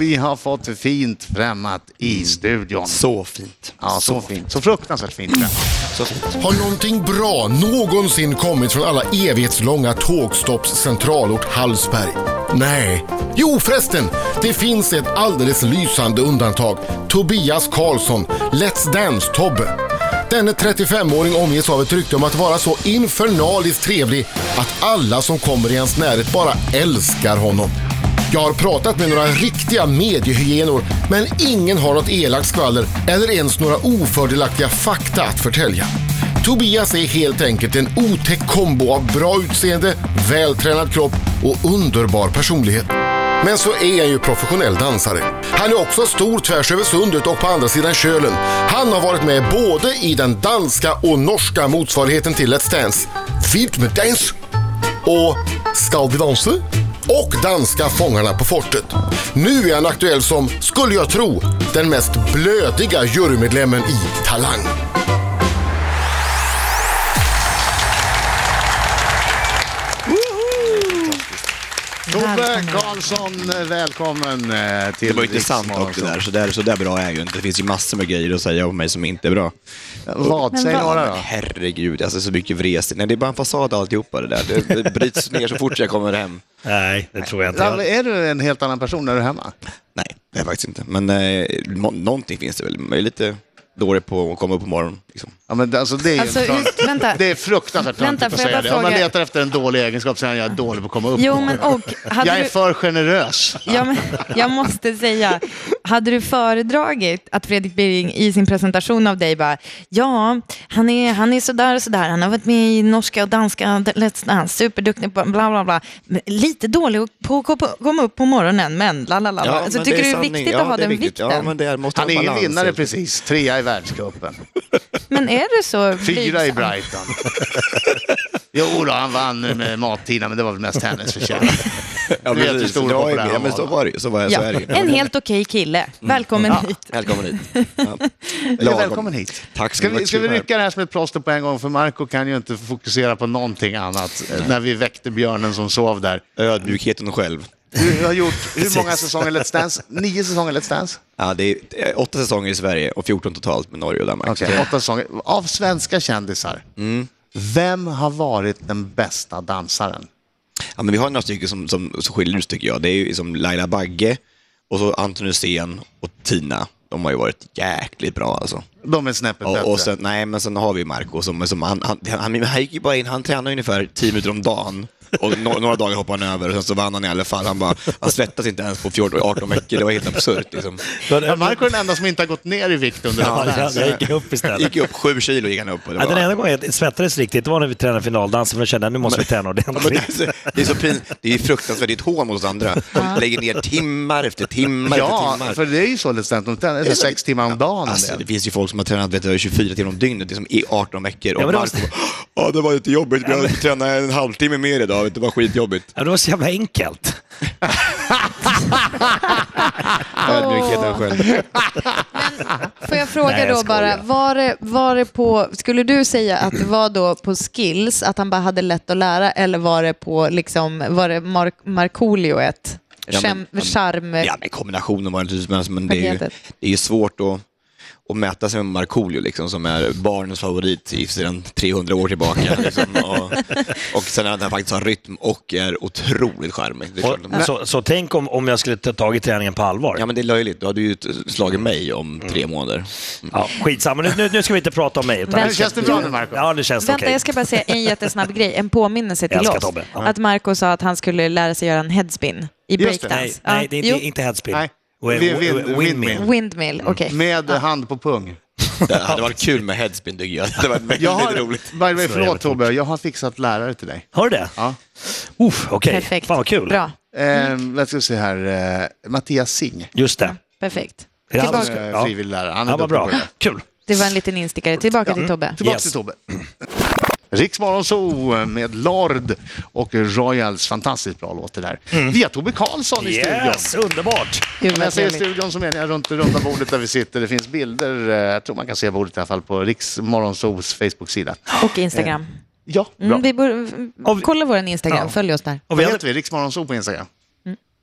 vi har fått det fint främmat i studion. Mm. Så Mm. fint. Ja, så fint. Så fruktansvärt fint främmat. Så fint. Har någonting bra någonsin kommit från alla evighetslånga tågstopps centralort Hallsberg? Nej. Jo förresten, det finns ett alldeles lysande undantag. Tobias Karlsson, Let's Dance-Tobbe. Denne 35-åring omges av ett rykte om att vara så infernaliskt trevlig att alla som kommer i hans närhet bara älskar honom. Jag har pratat med några riktiga mediehyenor, men ingen har något elakt skvaller eller ens några ofördelaktiga fakta att förtälja. Tobias är helt enkelt en otäck kombo av bra utseende, vältränad kropp och underbar personlighet. Men så är han ju professionell dansare. Han är också stor tvärs över sundet och på andra sidan kölen. Han har varit med både i den danska och norska motsvarigheten till Let's Dance. Fint med dans! och Ska vi dansa? Och danska Fångarna på fortet. Nu är han aktuell som, skulle jag tro, den mest blödiga jurymedlemmen i Talang. Tobbe Välkommen. Karlsson, eh, välkommen eh, till Det var ju inte sant Riksmorgon. också där, så där, så där bra är jag ju inte. Det finns ju massor med grejer att säga om mig som inte är bra. Vad, säg vad- några Men då. herregud, alltså så mycket vresigt. Nej, det är bara en fasad alltihopa det där. Det bryts ner så fort jag kommer hem. Nej, det tror jag inte. Lalle, Är du en helt annan person när du är hemma? Nej, det är jag faktiskt inte. Men eh, må- någonting finns det väl. Jag är lite dålig på att komma upp på morgonen. Liksom. Ja, men alltså, det är ju Alltså, en front- just- vänta. Det är fruktansvärt Vänta, töntigt att får jag säga bara det. Om man fråga- letar efter en dålig egenskap så är jag dålig på att komma upp Jo, på. men och... Hade Jag är du- för generös. Ja, men jag måste säga, hade du föredragit att Fredrik Birring i sin presentation av dig bara, ja, han är, han är sådär och sådär, han har varit med i norska och danska Let's Dance, superduktig, på bla bla bla, Men lite dålig på att komma- komma upp på morgonen, men la la la. Ja, alltså, men tycker är du det är sanning. viktigt Ja, att ha det är den viktigt. vikten? Ja, men men... det är- måste Han ha är ingen balans, vinnare helt enkelt. precis. Trea i världscupen. är det så? Fyra i blygsam? Brighton. Jo då, han vann nu med Mattina, men det var väl mest hennes förtjänst. Ja, Du vet hur precis. stor Det var ju- populär ja, han men var. så var det ju. Så var jag, så är det Ja, ju. en helt okej kille. Välkommen hit. Välkommen hit. Ja. Ja, Lagom. välkommen hit. Tack ska ska vi, ska vi rycka det här som ett plåster på en gång? För Marco kan ju inte fokusera på någonting annat eh, när vi väckte björnen som sov där. Ödmjukheten själv. Du har gjort hur många säsonger Let's Dance? Nio säsonger Let's Dance? Ja, det är eh, åtta säsonger i Sverige och 14 totalt med Norge och Danmark. Okej, åtta säsonger. Av svenska kändisar, Mm. vem har varit den bästa dansaren? Ja, men vi har några stycken som, som, som skiljer ut tycker jag. Det är ju som Laila Bagge och så Anton Hysén och Tina. De har ju varit jäkligt bra alltså. De är snäppet bättre. Och, och sen, nej, men sen har vi Marco som, som han, han, han, han gick ju bara in, han tränade ungefär 10 minuter om dagen. Och no, några dagar hoppade han över och sen så vann han i alla fall. Han, bara, han svettas inte ens på 14, 18 veckor, det var helt absurt. Liksom. Ja, Marco är den enda som inte har gått ner i vikt under Ja, Let's Ja, Dance. jag gick upp istället. Gick ju upp 7 kilo gick han upp. Och det Ja, den var, enda gången jag svettades riktigt det var när vi tränade finaldansen, för jag kände att nu måste vi träna Ja, men det, ordentligt. är så, det är så pinsamt, det är ju fruktansvärt, det är ett hån mot oss andra. De lägger ner timmar efter timmar Ja, efter timmar. för det är ju så Let's Dance. De tränar ju sex timmar om dagen. om Alltså, det. det finns ju folk som har tränat vet du, 24 timmar om dygnet liksom, i 18 veckor. Och Ja, men det var- Marco bara, ja det var jättejobbigt, vi har tränat en halvtimme mer idag, vet du, det var skitjobbigt. Ja, det var så jävla enkelt. Ah. Ödmjukheten själv. Får jag fråga Nej, jag då bara, skojar. var det, var det på, skulle du säga att det var då på skills, att han bara hade lätt att lära, eller var det på liksom, var det Mar- Markoolio ett Ja, Skäm- men- charm? Ja, men kombinationen var naturligtvis, men det är ju, Paketet. det är ju svårt att och mäta sig med Markoolio liksom, som är barnens favorit i- sedan 300 år tillbaka. Liksom, och, och sen att han faktiskt har rytm och är otroligt charmig. Det är klart. Och, så, så tänk om, om jag skulle ta tag i träningen på allvar. Ja, men det är löjligt. Då hade du ju t- slagit mig om tre månader. Ja, skitsamma, nu, nu, nu ska vi inte prata om mig. Utan Men vi ska- känns det bra nu, Marco? Ja, det känns okej. Vänta, jag ska bara säga en jättesnabb grej, en påminnelse till Älskar oss. Tobbe. Ja. Att Marco sa att han skulle lära sig göra en headspin i Just det. breakdance. Nej, nej, det är inte, Mm. Jo. inte headspin. Nej. Och- Vi- och- vi- och- och- windmill. Windmill, okej. Med hand på pung. Det hade varit kul med headspin, tycker jag. Det hade varit väldigt Jag har, roligt. by the way, Så jävla förlåt fort. Tobbe, jag har fixat lärare till dig. Har du det? Ja. Uff, Okej, Perfekt. fan vad kul. Bra, Ehm, vad ska vi se här, eh, Mattias Singh, Just det. perfekt. Är det Tillbaka. han som ska- eh, frivillig lärare. Han är Ja, duktig vad bra. på det. Kul. Det var en liten instickare. Tillbaka till Tobbe. Tillbaka Yes. till Tobbe. Riksmorgon Zoo med Lord och Royals. Fantastiskt bra låt det där. Vi har Tobbe Karlsson i studion. Mm. Yes, underbart. Gud, När vad jag säger trevligt. studion så menar jag runt det runda bordet där vi sitter. Det finns bilder, eh, jag tror man kan se bordet i alla fall, på Riksmorgon Zoos Facebook-sida. Och Instagram. Ja, bra. Mm, vi borde, Och vi- kolla vår Instagram, Ja. följ oss där. Och Vad vi hade... heter vi? Riksmorgon Zoo på Instagram.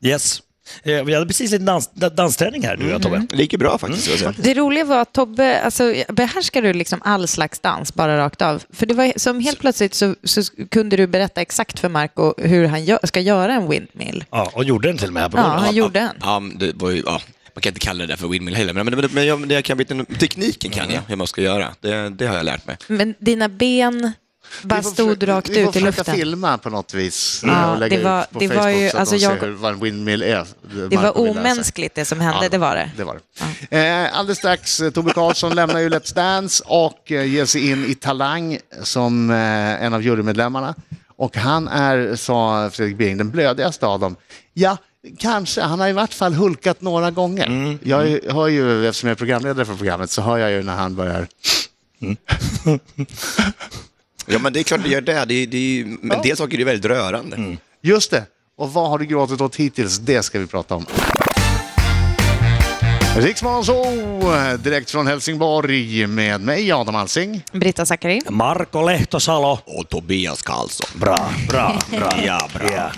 Yes. Eh, Vi hade precis lite dans, da- dansträning här, du och jag Tobbe. Det gick ju bra faktiskt. ska jag säga. Det roliga var att Tobbe, alltså, behärskar du liksom all slags dans bara rakt av? För det var som helt plötsligt så, så kunde du berätta exakt för Marco hur han gö- ska göra en windmill. Ja, och gjorde den till och med här på Ja, gården. han gjorde den. Ja, men det var ju, ja, man kan inte kalla det där för windmill heller, men, men, men, men, jag, men jag kan biten, tekniken kan jag, hur man ska göra. Det, det har jag lärt mig. Men dina ben bara Vi får stod försöka- rakt vi får ut i försöka luften. filma på något vis eh, Ja, och lägga det var- ut på det var Facebook ju- så att alltså de jag- ser hur, vad en windmill är. Det var Marco vill lära sig. omänskligt det som hände, det var det. Det var det. Eh, alldeles strax, eh, Tobbe Karlsson lämnar ju Let's Dance och eh, ger sig in i Talang som eh, en av jurymedlemmarna. Och han är, sa Fredrik Bering, den blödigaste av dem. Ja, kanske. Han har i vart fall hulkat några gånger. Jag är- hör ju, eftersom jag är programledare för programmet, så hör jag ju när han börjar... Ja, men det är klart det gör det. det, är- det är ju- men en del saker är ju väldigt rörande. Just det! Och vad har du gråtit åt hittills? Det ska vi prata om. Riksmorgon så direkt från Helsingborg med mig, Adam Alsing. Britta Zackari. Marko Lehtosalo. Och Tobias Karlsson. Bra, bra, bra. Ja, bra. Ja.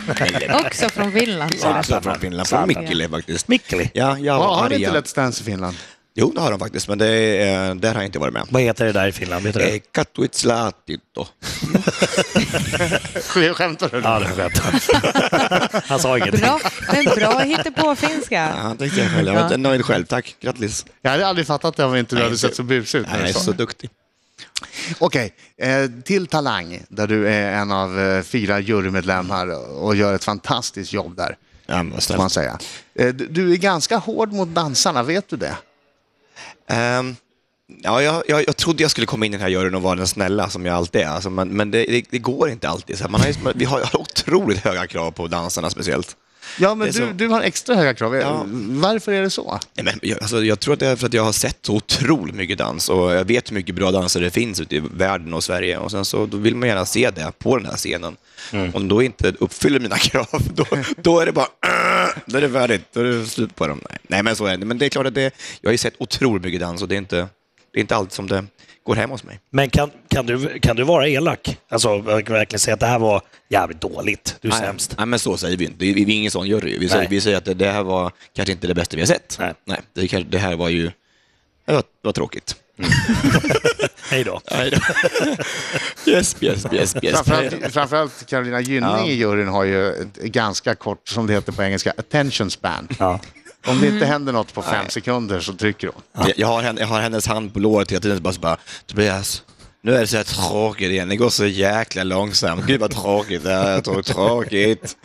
Också från Finland. sa du. Också från Finland, från Mikkele faktiskt. Mikkeli. Ja, jag Ja, och har ni inte Arja. Let's Dance i Finland? Jo, det har de faktiskt, men det, eh, där har jag inte varit med. Vad heter det där i Finland? Vet du det? Eh, Katuitslaatitto. Sk- Skämtar du? Ja, det är skönt. Han sa ingenting. Bra, men bra hittepåfinska. Ja, det kan jag själv. Jag var inte nöjd själv. Tack, grattis. Jag hade aldrig fattat det om inte du hade det- sett så busig ut. när Jag du är sa så det. duktig. Okej, eh, till Talang, där du är en av eh, fyra jurymedlemmar och gör ett fantastiskt jobb där, Ja, men vad får man snällt. säga. Eh, du- Du är ganska hård mot dansarna, vet du det? Ehm, ja, jag, jag, jag trodde jag skulle komma in i den här juryn och vara den snälla som jag alltid är, alltså, men, men det, det, det går inte alltid. Så här, man har ju, vi har otroligt höga krav på dansarna speciellt. Ja, men Det är du, så. du har extra höga krav. Eh, Ja. Varför är det så? Nej, men jag, alltså, jag tror att det är för att jag har sett så otroligt mycket dans och jag vet hur mycket bra dansare det finns ute i världen och Sverige. Och sen så då vill man gärna se det på den här scenen. Mm. Om då inte uppfyller mina krav, då, då är det bara "Äh!" då är det färdigt, då är det slut på dem. Nej, nej men så är det. Men det är klart att det, jag har ju sett otroligt mycket dans och det är inte, det är inte allt som det går hem hos mig. Men kan, kan, du, kan du vara elak? Alltså, jag kan verkligen säga att det här var jävligt dåligt. Du är nej, sämst. Nej, men så säger vi inte. Det är- Vi är ingen sån jury. Vi säger, Nej. vi säger att det, det här var kanske inte det bästa vi har sett. Nej. nej det, kan- det här var ju, det var, det var tråkigt. Hej då. Yes, yes, yes, yes. Framförallt, framförallt Carolina Gynning i juryn har ju ett ganska kort, som det heter på engelska, attention span. Ja. Om det Mm. inte händer något på fem sekunder så trycker hon. Jag, jag, har henne, jag har hennes hand på låret hela tiden och bara, så bara Tobias, nu är det så här tråkigt igen. Det går så jäkla långsamt. Gud vad tråkigt det är. Tråkigt. tråkigt.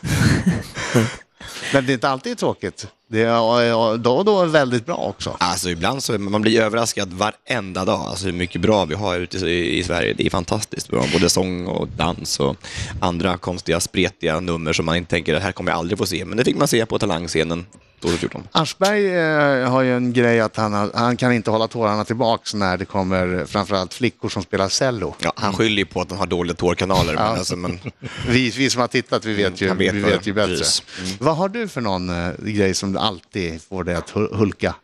Men det är inte alltid tråkigt. Det är då och då är väldigt bra också. Alltså ibland så är man man blir överraskad varenda dag. Alltså hur mycket bra vi har ute i, i Sverige. Det är fantastiskt bra. Både sång och dans och andra konstiga spretiga nummer som man inte tänker att här kommer jag aldrig få se. Men det fick man se på talangscenen 2014. Aschberg eh, har ju en grej att han, har, han kan inte hålla tårarna tillbaks när det kommer framförallt flickor som spelar cello. Ja, han skyller ju på att han har dåliga tårkanaler. Men alltså, men... Vi, vi som har tittat, vi vet ju, Han vi vet vad Mm, det- vet ju bättre. precis. Mm. Vad har du för någon eh, grej som du alltid får dig att hul- hulka?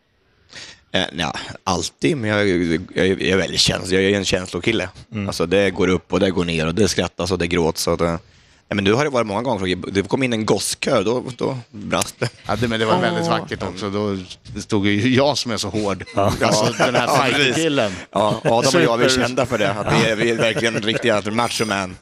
Eh, nja, alltid, men jag, jag, jag är väldigt känslig. Jag är en känslokille. Alltså, det går upp och det går ner och det skrattas och det gråts. Och det... Nej, men du har det varit många gånger, Frogge. Det kom in en gosskö, då, då brast det. Ja, det, men det var väldigt Åh. vackert också. Då stod ju jag som är så hård. Alltså den här Ja, precis. fighterkillen. Ja, Adam och jag vi är Super. kända för det. Att vi, är, vi är verkligen riktiga machomän.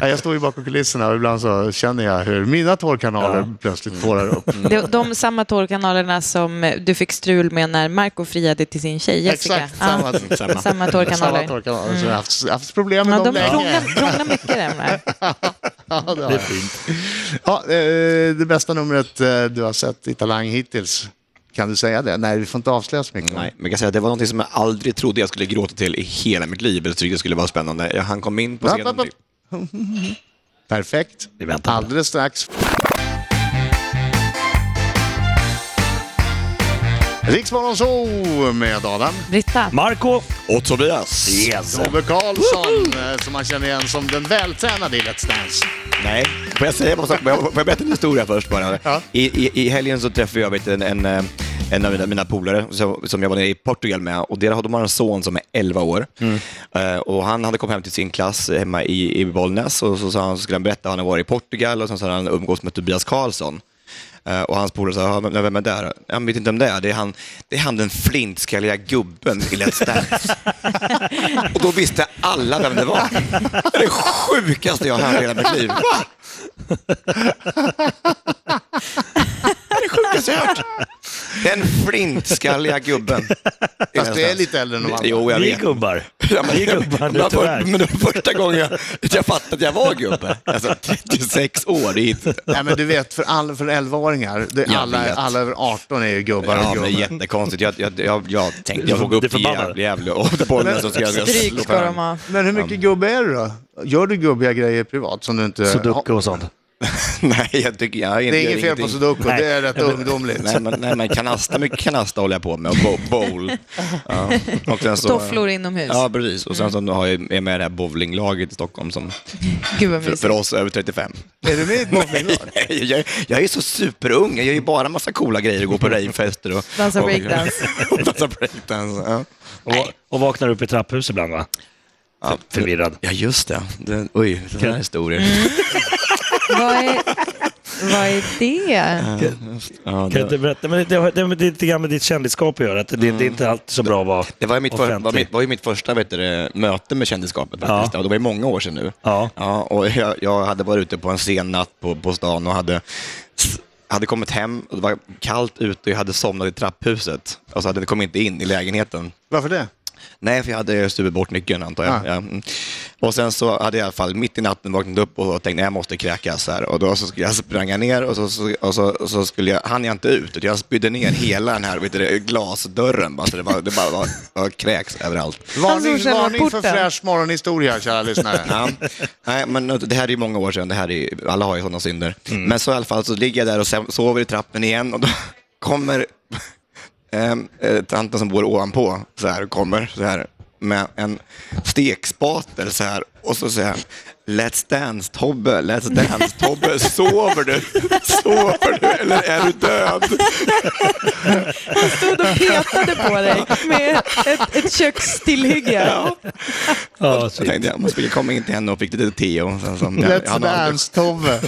Ja, jag står ju bakom kulisserna och ibland så känner jag hur mina tårkanaler plötsligt tårar Mm. upp. De, de samma tårkanalerna som eh, du fick strul med när Marco friade till sin tjej Jessica. Exakt Ja, samma. Samma. samma Samma tårkanaler. Mm. tårkanaler. Så jag har haft, haft problem med Ja, de dem länge. krånglar, krånglar mycket de där. Ja, det, har jag. Ja, eh, det bästa numret eh, du har sett i Talang hittills, kan du säga det? Nej, vi får inte avslöja så mycket. Nej, men jag kan säga att det var något som jag aldrig trodde jag skulle gråta till i hela mitt liv. Jag tyckte det skulle vara spännande. Jag- Han kom in på Va, scenen. va, va. Perfekt. Vi väntar på det. Alldeles strax. Riksmorgon så med Adam. Britta, Marco. Och Tobias. Yes. Tobbe Karlsson, eh, som man känner igen som den vältränade i Let's Dance. Nej, får jag säga vad som, får jag, får jag berätta en historia först bara? Ja. I, i, I helgen så träffade jag vet, du, en, en, eh, en av mina, mina polare som, som jag var nere i Portugal med och där, har- de har en son som är 11 år. Eh, och han hade kommit hem till sin klass hemma i, i Bollnäs och så, sa han, så skulle han berätta att han har varit i Portugal och sen så hade han umgås med Tobias Karlsson. Eh, Och hans polare sa, "Ja, men vem är det där? Jag vet inte vem det är. Det är han, det är han den flintskalliga gubben i Let's Dance. och då visste alla vem det var. Det är det sjukaste jag har hört i hela mitt liv. Va? det är det sjukaste jag har hört. Den flintskalliga gubben. i Fast Let's det är Dance. lite äldre än de andra. Jo, jag Vi är vet. gubbar. Ja, men, Vi är gubbar men, nu det var, tyvärr. men det var första gången jag, jag fattade att jag var gubbe. Alltså 36 år, det är inte... Nej, men du vet, för, all, för 11-åringar, det, Jag alla, vet. alla över 18 är ju gubbar och Ja, gubbar. men jättekonstigt. Jag, jag, jag, jag tänkte jag får gå Du upp till förbannar. Gävle, Gävle och ta bollen så ska jag ska Stryk slå ska på de ha. Men hur mycket gubbe är du då? Gör du gubbiga grejer privat som du inte... Sudoku och sånt. Nej, jag tycker jag det är inget fel på sudoku, Nej. det är rätt ungdomligt. Nej, men, nej, men kanasta, mycket kanasta håller jag på med och bo- bowl. Ja. Och sen så, Tofflor inomhus. Ja, precis. Och sen så har jag, är jag med i det här bowlinglaget i Stockholm som Gud vad för, för mysigt. oss över 35. Är du med i ett Nej, bowlinglag? nej, jag, jag är så superung. Jag gör ju bara massa coola grejer och går på ravefester och... Dansar och- breakdance. och Dansar breakdance, ja. Och, och vaknar upp i trapphus ibland va? ja. Förvirrad. Ja, just det. det oj, sådana här historier. Vad är, vad är det? Ja, Kan jag det, inte berätta? Men det, har- det, men det är lite grann med ditt kändisskap att göra. Att det, det är inte alltid så bra att vara det var ju mitt, för, offentlig. var mitt, var ju mitt första vet du, det, möte med kändisskapet. Faktiskt. Ja. Och det var ju många år sedan nu. Ja. Ja, och jag, jag hade varit ute på en sen natt på, på stan och hade, s- hade kommit hem. Och det var kallt ute och jag hade somnat i trapphuset. Och så hade vi kommit inte in i lägenheten. Varför det? Nej, för jag hade stulit bort nyckeln antar jag. Ah. Ja. mm. Och sen så hade jag i alla fall mitt i natten vaknat upp och tänkte jag måste kräkas här. Och då så skulle jag sprang jag ner och så, så, och så, och så skulle jag, hann jag inte ut. utan Jag spydde ner hela den här vet du, det, glasdörren. Bara, så det, var, det bara var, var kräks överallt. Varning, som känner varning för porten. fräsch morgonhistoria, kära lyssnare. Ja. Nej, men det här är ju många år sedan. Det här är, ju- alla har ju sådana synder. Men så i alla fall så ligger jag där och sen sover i trappen igen och då kommer ehm, eh, tanten som bor ovanpå så här och kommer så här med en stekspatel så här och så säger han Let's dance Tobbe, let's dance Tobbe, sover du? Sover du eller är du död? Stod och petade på dig med ett, ett kökstillhygge. Ja, Så tänkte jag, man skulle komma in till henne och fick lite te och sen så, Let's dance-Tobbe.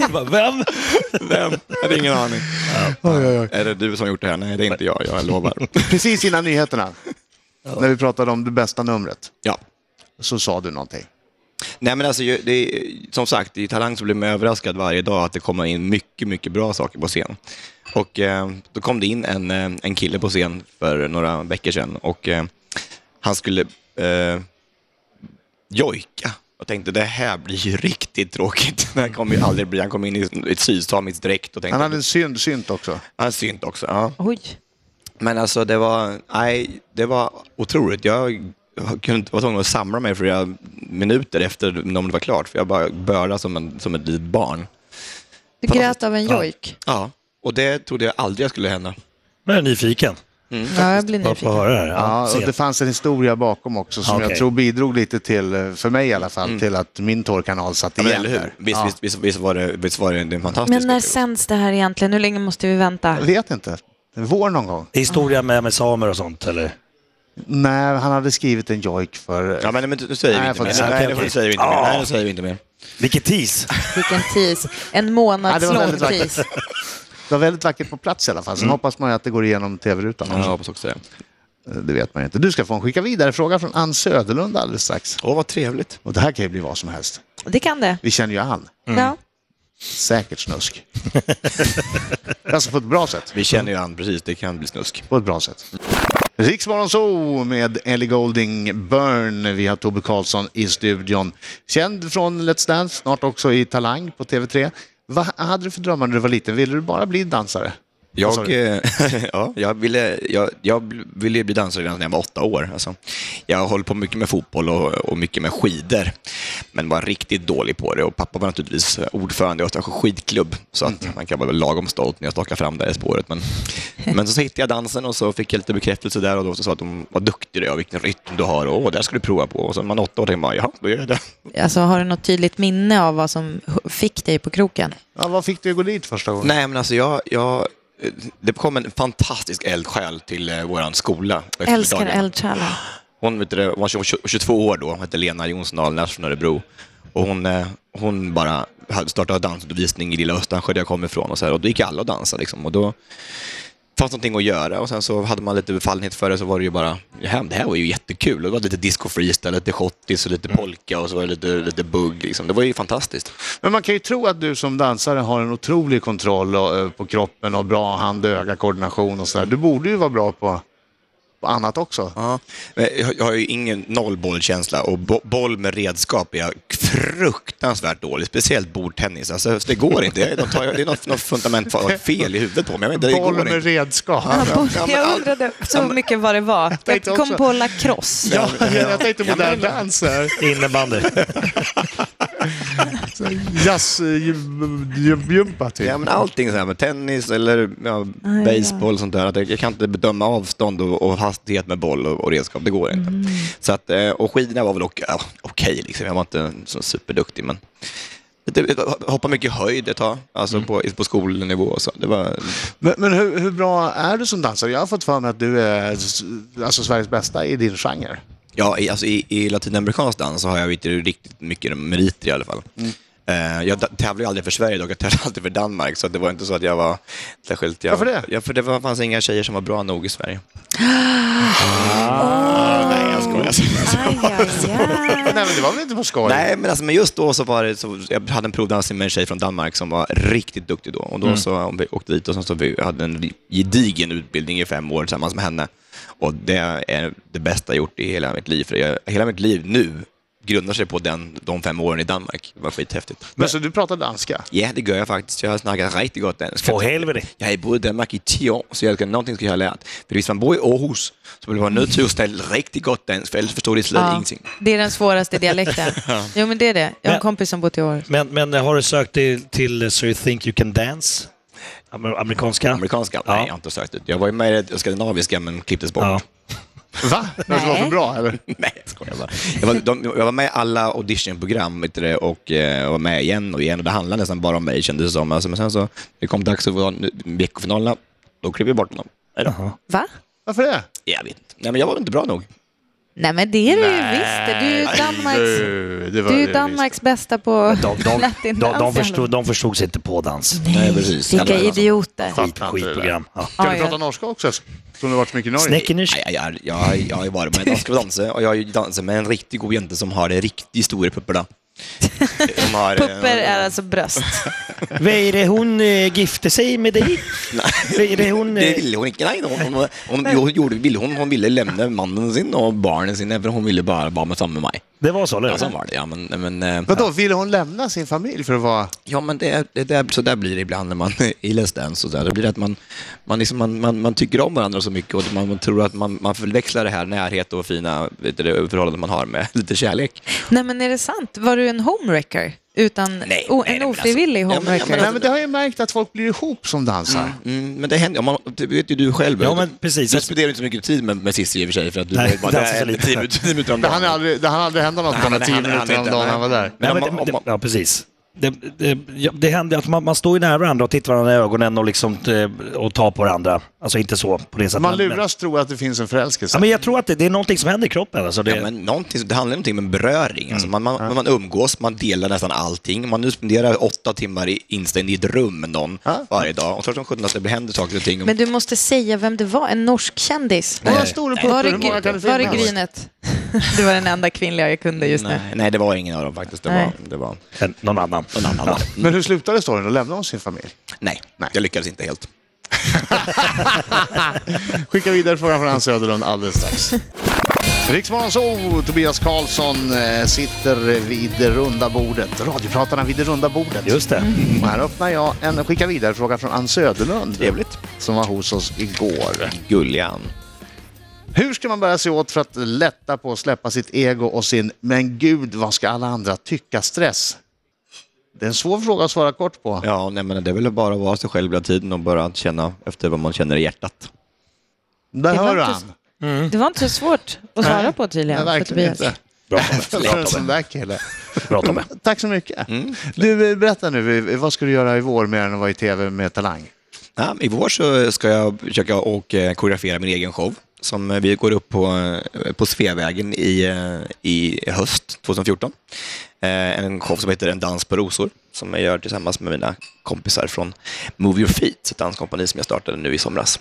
jag bara, vem? Vem? Jag hade ingen aning. Är det du som har gjort det här? Nej, det är inte jag, jag lovar. Precis innan nyheterna, när vi pratade om det bästa numret, Ja. så sa du någonting. Nej, men alltså, ju- det är, som sagt, i Talang så blir man överraskad varje dag att det kommer in mycket, mycket bra saker på scen. Och eh, då kom det in en, eh, en kille på scen för några veckor sedan och eh, han skulle eh, jojka. Jag tänkte det här blir ju riktigt tråkigt. Det här kommer ju aldrig bli. Han kom in i ett sydsamiskt dräkt och tänkte... Han hade en synd, synt också. han synt också. Ja. Oj. Men alltså det var, nej, det var otroligt. Jag kunde, inte- var tvungen att samla mig flera minuter efter om det var klart, för jag bara började som, en, som ett litet barn. Du grät av en jojk. Ja. Och det trodde jag aldrig skulle hända. Men jag är nyfiken Ja, jag blir på att få nyfiken. höra det här. Ja, och se. det fanns en historia bakom också som jag Okej. tror bidrog lite till, för mig i alla fall, till att min torrkanal satt igen. Mm. eller hur? där. Visst, Ja. visst, visst, visst var det, visst var det en fantastisk Men när upplevelse. sänds det här egentligen? Hur länge måste vi vänta? Jag vet inte. Vår någon gång? Historia med, med samer och sånt eller? Nej, han hade skrivit en jojk för... Ja, men, men nu säger vi Nej, inte jag får mer. inte Nej, nu säger säga. vi inte mer. Ah. Nej, nu säger vi inte mer. Vilket tis! Vilken tis. En Ja, det var månadslång väldigt vackert. tis. Det var väldigt vackert på plats i alla fall. Sen hoppas man ju att det går igenom tv-rutan. Mm. Ja, jag hoppas också det. Det vet man ju inte. Du ska få en skicka vidare fråga från Ann Söderlund alldeles strax. Åh, vad trevligt. Och det här kan ju bli vad som helst. Det kan det. Vi känner ju Ann. Ja. Säkert snusk. alltså på ett bra sätt. Vi känner ju an, precis. Det kan bli snusk. På ett bra sätt. Riksmorgon så med Ellie Golding Byrne. Vi har Tobbe Karlsson i studion. Känd från Let's Dance, snart också i Talang på TV3. Vad hade du för drömmar när du var liten? Ville du bara bli dansare? Vad sa Jag, du? eh, ja, jag, ville, jag, jag bl- ville bli dansare redan när jag var åtta år. Alltså, jag höll på mycket med fotboll och, och mycket med skidor, men var riktigt dålig på det. Och pappa var naturligtvis ordförande i Östersjö skidklubb, så att man kan vara lagom stolt när jag stakar fram det i spåret. Men, men så hittade jag dansen och så fick jag lite bekräftelse där och då så sa att de var duktig du är och vilken rytm du har och åh, det här ska du prova på. Och så när man var åtta år tänkte man, ja, då gör jag det. Alltså, har du något tydligt minne av vad som h- fick dig på kroken? Ja, vad fick du att gå dit första gången? Nej, men alltså jag, jag... Det kom en fantastisk eldsjäl till eh, vår skola. på Älskar eftermiddagen. eldsjälen. Hon vet du, det, var 22 år då, hette Lena Jonsson Alnäs från Örebro. Och hon, eh, hon bara hade startat dansundervisning i Lilla Östansjö där jag kom ifrån. Och, så här, och då gick alla och dansade. Liksom. Och då fanns någonting att göra och sen så hade man lite befallenhet för det så var det ju bara, "Jaha, det här var ju jättekul. Det var lite disco freestyle, lite schottis och lite polka och så var det lite, lite bugg. Liksom. Det var ju fantastiskt. Men man kan ju tro att du som dansare har en otrolig kontroll eh, på kroppen och bra hand-öga-koordination och sådär. Du borde ju vara bra på, på annat också. Ja. men Jag jag har ju ingen noll bollkänsla och bo- boll med redskap är jag fruktansvärt dålig, speciellt bordtennis. Alltså, så det går inte. Jag- de tar- Det är något, något fundamentalt fel i huvudet på mig. Jag vet inte, det Boll går med inte. redskap. Ja, ja, ja, men all- Jag undrade så mycket vad det var. Jag tänkte kom också. på lacrosse. Ja, jag tänkte på Ja, men- modern dans här. Innebandy. eh, Jazzgympa typ. Ja, men allting så här med tennis eller Ah, ja, baseball och sånt där. att jag- Jag kan inte bedöma avstånd och, och hastighet med boll och, och redskap. Det går Mm. inte. Så att, eh, och skidorna var väl ok- ja, okej, liksom. jag var inte så superduktig. Men det- jag hoppade mycket höjd ett tag, alltså Mm. på, på skolnivå. Och så. Det var, Men, men hur, hur bra är du som dansare? Jag har fått för mig att du är s- alltså, Sveriges bästa i din genre. ja, i, alltså, i, I latinamerikansk dans så har jag inte riktigt mycket meriter i alla fall. Mm. Eh, Jag da- tävlar ju aldrig för Sverige dock, jag tävlar alltid för Danmark, så att det var inte så att jag var särskilt... Jag, Varför det? Ja, för det var- fanns inga tjejer som var bra nog i Sverige. Aj, aj, aj. Nej, men det var väl inte på skoj? Nej, men, alltså, men just då så var det, så, jag hade en provdansning med en tjej från Danmark som var riktigt duktig då. Och då så vi åkte dit och sen så vi hade en gedigen utbildning i fem år tillsammans med henne. Och det är det bästa jag gjort i hela mitt liv. För jag, hela mitt liv nu grundar sig på den, de fem åren i Danmark. Det var skithäftigt. Men så du pratar danska? Ja, det gör jag faktiskt. Jag snackar riktigt gott danska. Få helvete. Jag har bott i Danmark i 10 år, så jag ska, någonting ska jag ha lärt. För om man bor i Aarhus så blir man nöjd till att snacka riktigt gott dansk, för annars förstår de slet Ja, ingenting. det är den svåraste dialekten. Jo, men det är det. Jag har en Men- kompis som bor i år. Men, men har du sökt till, till eh, So You Think You Can Dance? Amer- Amerikanska? Amerikanska? Ja. Nej, jag har inte sökt ut. Jag var ju med i det skandinaviska, men klipptes bort. Ja. Va? Det var för Nej. bra eller? Nej, jag skojar bara. Jag var, de, jag var med i alla auditionprogram vet du det, och eh, var med igen och igen. Och det handlade nästan bara om mig, kändes det som. Alltså, men sen så, det kom dags att vara nu- veckofinalerna, då klev vi bort honom. Va? Varför det? Jag vet inte. Nej, men jag var inte bra nog. Nej, men det är det ju visst. Du är ju Danmarks, det du är ju Danmarks bästa på De, de, de, latindans. de, förstod, de förstod sig inte på dans. Nej, precis. Vilka Jag, alltså, idioter. Skit, skitprogram. Ja. Kan Ja, du ja. prata norska också? Som du har varit så mycket i Norge. Snäckenisch. Nej, jag, jag, jag, jag har ju varit med i Danska danser och jag har ju dansat med en riktigt god jente som har det riktigt stora pupporna. De har, eh, Pupper är alltså bröst. Vad är det hon äh, gifte sig med dig? Vad är det hon... Det eh, ville hon inte. Nej, hon, hon, hon, hon, gjorde, ville, hon, hon ville lämna mannen sin och barnen sina, för hon ville bara vara med samma med mig. det var så, eller Ja, så hur? var det. Ja, men, men, eh, Vadå, ville hon lämna sin familj för att vara... ja, men det, är- det, där, så där blir det ibland när man i Let's Dance. Och så där. Det blir att man, man, liksom, man, man, man tycker om varandra så mycket och man, man tror att man, man förväxlar det här närhet och fina vet du, det, förhållanden man har med lite kärlek. Nej, men är det sant? Var du en homewrecker? Utan, Nej, o, nej, en men alltså- ofrivillig Ja, men- ja, homewrecker? men Nej, men det har jag märkt att folk blir ihop som dansar. Mm, men det händer, om man, det vet ju du själv. Ja, men precis. Du spenderar inte så mycket tid med, med Cissi i och för sig, för att du Nej, bara, det är så lite. tio minuter- tio minuter om Det dagen. hann aldrig, det hann aldrig hända något på de Nej, tio han- han- minuterna om inte, dagen nej. han var där. Men Nej, om men man- om det, man- det, ja, precis. Det, det, ja, det händer att man, man står ju nära varandra och tittar varandra i ögonen och, liksom, eh, och tar på varandra. Alltså inte så på det sättet. Man men- men- luras tro att det finns en förälskelse. Ja, men jag tror att det, det är någonting som händer i kroppen. Alltså det, Ja, men någonting, det handlar om någonting med beröring. Alltså man, man, man umgås, man delar nästan allting. Om Man nu spenderar åtta timmar i, instängd i ett rum med någon varje dag. Och klart som sjutton att det händer saker och ting. Men du måste säga vem det var, en norsk kändis. Hon har stora Var pupper, det, hur många kan det gry- var det finnas? Grynet? Det var den enda kvinnliga jag kunde just nu. nej, nej, det var ingen av dem faktiskt. Det Nej. var, det var Eh, Någon annan. någon annan. var det. Men hur slutade storyn? Då lämnade hon sin familj. Nej, jag lyckades inte helt. Skicka vidare frågan från Ann Söderlund alldeles strax. Riksmorgonzoo, Tobias Karlsson eh, sitter vid det runda bordet. Radiopratarna vid det runda bordet. Just det. Och här öppnar jag en skicka vidare fråga från Ann Söderlund. Trevligt. Som var hos oss igår. Gullian. Hur ska man bära sig åt för att lätta på att släppa sitt ego och sin “men gud, vad ska alla andra tycka?”-stress? Det är en svår fråga att svara kort på. Ja, nej, men det är väl bara att vara sig själv hela tiden och bara känna efter vad man känner i hjärtat. Där Det var hör du inte han. Det var inte så svårt att svara på tydligen. Nej, för verkligen Tobias. inte. Bra, För en sån där kille. Bra Tobbe. Tack så mycket. Mm. Du, eh, berätta nu, eh, vad ska du göra i vår mer än att vara i tv med Talang? Ja, I vår så ska jag försöka och eh, koreografera min egen show. som eh, vi går upp på, eh, på Sveavägen i, eh, i höst 2014. Eh, En show som heter En dans på rosor som jag gör tillsammans med mina kompisar från Move Your Feet, ett danskompani som jag startade nu i somras.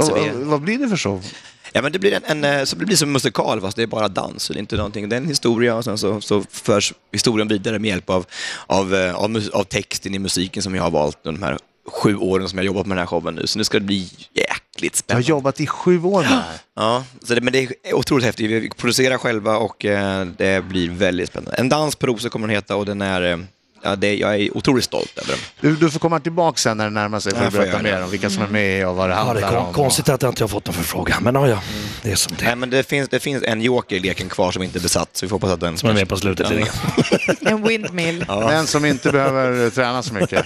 Så Och, vi- och, vad blir det för show? Ja, men det blir en, en, eh, så det blir som en musikal fast det är bara dans. Så det är inte någonting. Det är en historia och sen så, så förs historien vidare med hjälp av, av, eh, av, mus- av texten i musiken som jag har valt under de här sju åren som jag har jobbat med den här showen nu. Så nu ska det bli jäkligt Jag har spännande. jobbat i sju år med det här. Ja, så det, men det är otroligt häftigt. Vi producerar själva och eh, det blir väldigt spännande. En dans på rosor kommer den heta och den är... eh, Ja, det, jag är otroligt stolt över den. Du, du får komma tillbaka sen när det närmar sig för Ja, att får jag berätta göra mer det. om vilka som är med och vad det Ja, det handlar är kon- om. konstigt att jag inte har fått någon förfrågan, men ja, ja. Det är som det är. Nej, men det finns, det finns en joker i leken kvar som inte är besatt, så vi får hoppas att den... Som är med på slutet. Ja. Ja. En windmill. Den som inte behöver eh, träna så mycket.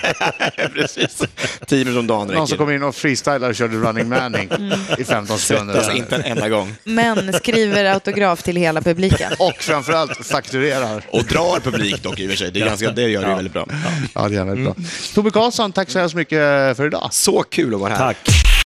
Precis. Tio minuter om dagen Någon som räcker. kommer in och freestylar och körde running manning i 15 Svettas sekunder. Mm. Alltså, inte en enda gång. Men skriver autograf till hela publiken. Och framförallt fakturerar. Och drar publik dock i och för sig. Det, är ganska, det gör det ju väldigt bra. Mm. Ja, det är jävligt bra. Tobbe Karlsson, tack så hemskt mycket eh, för idag. Så kul att vara här. Tack.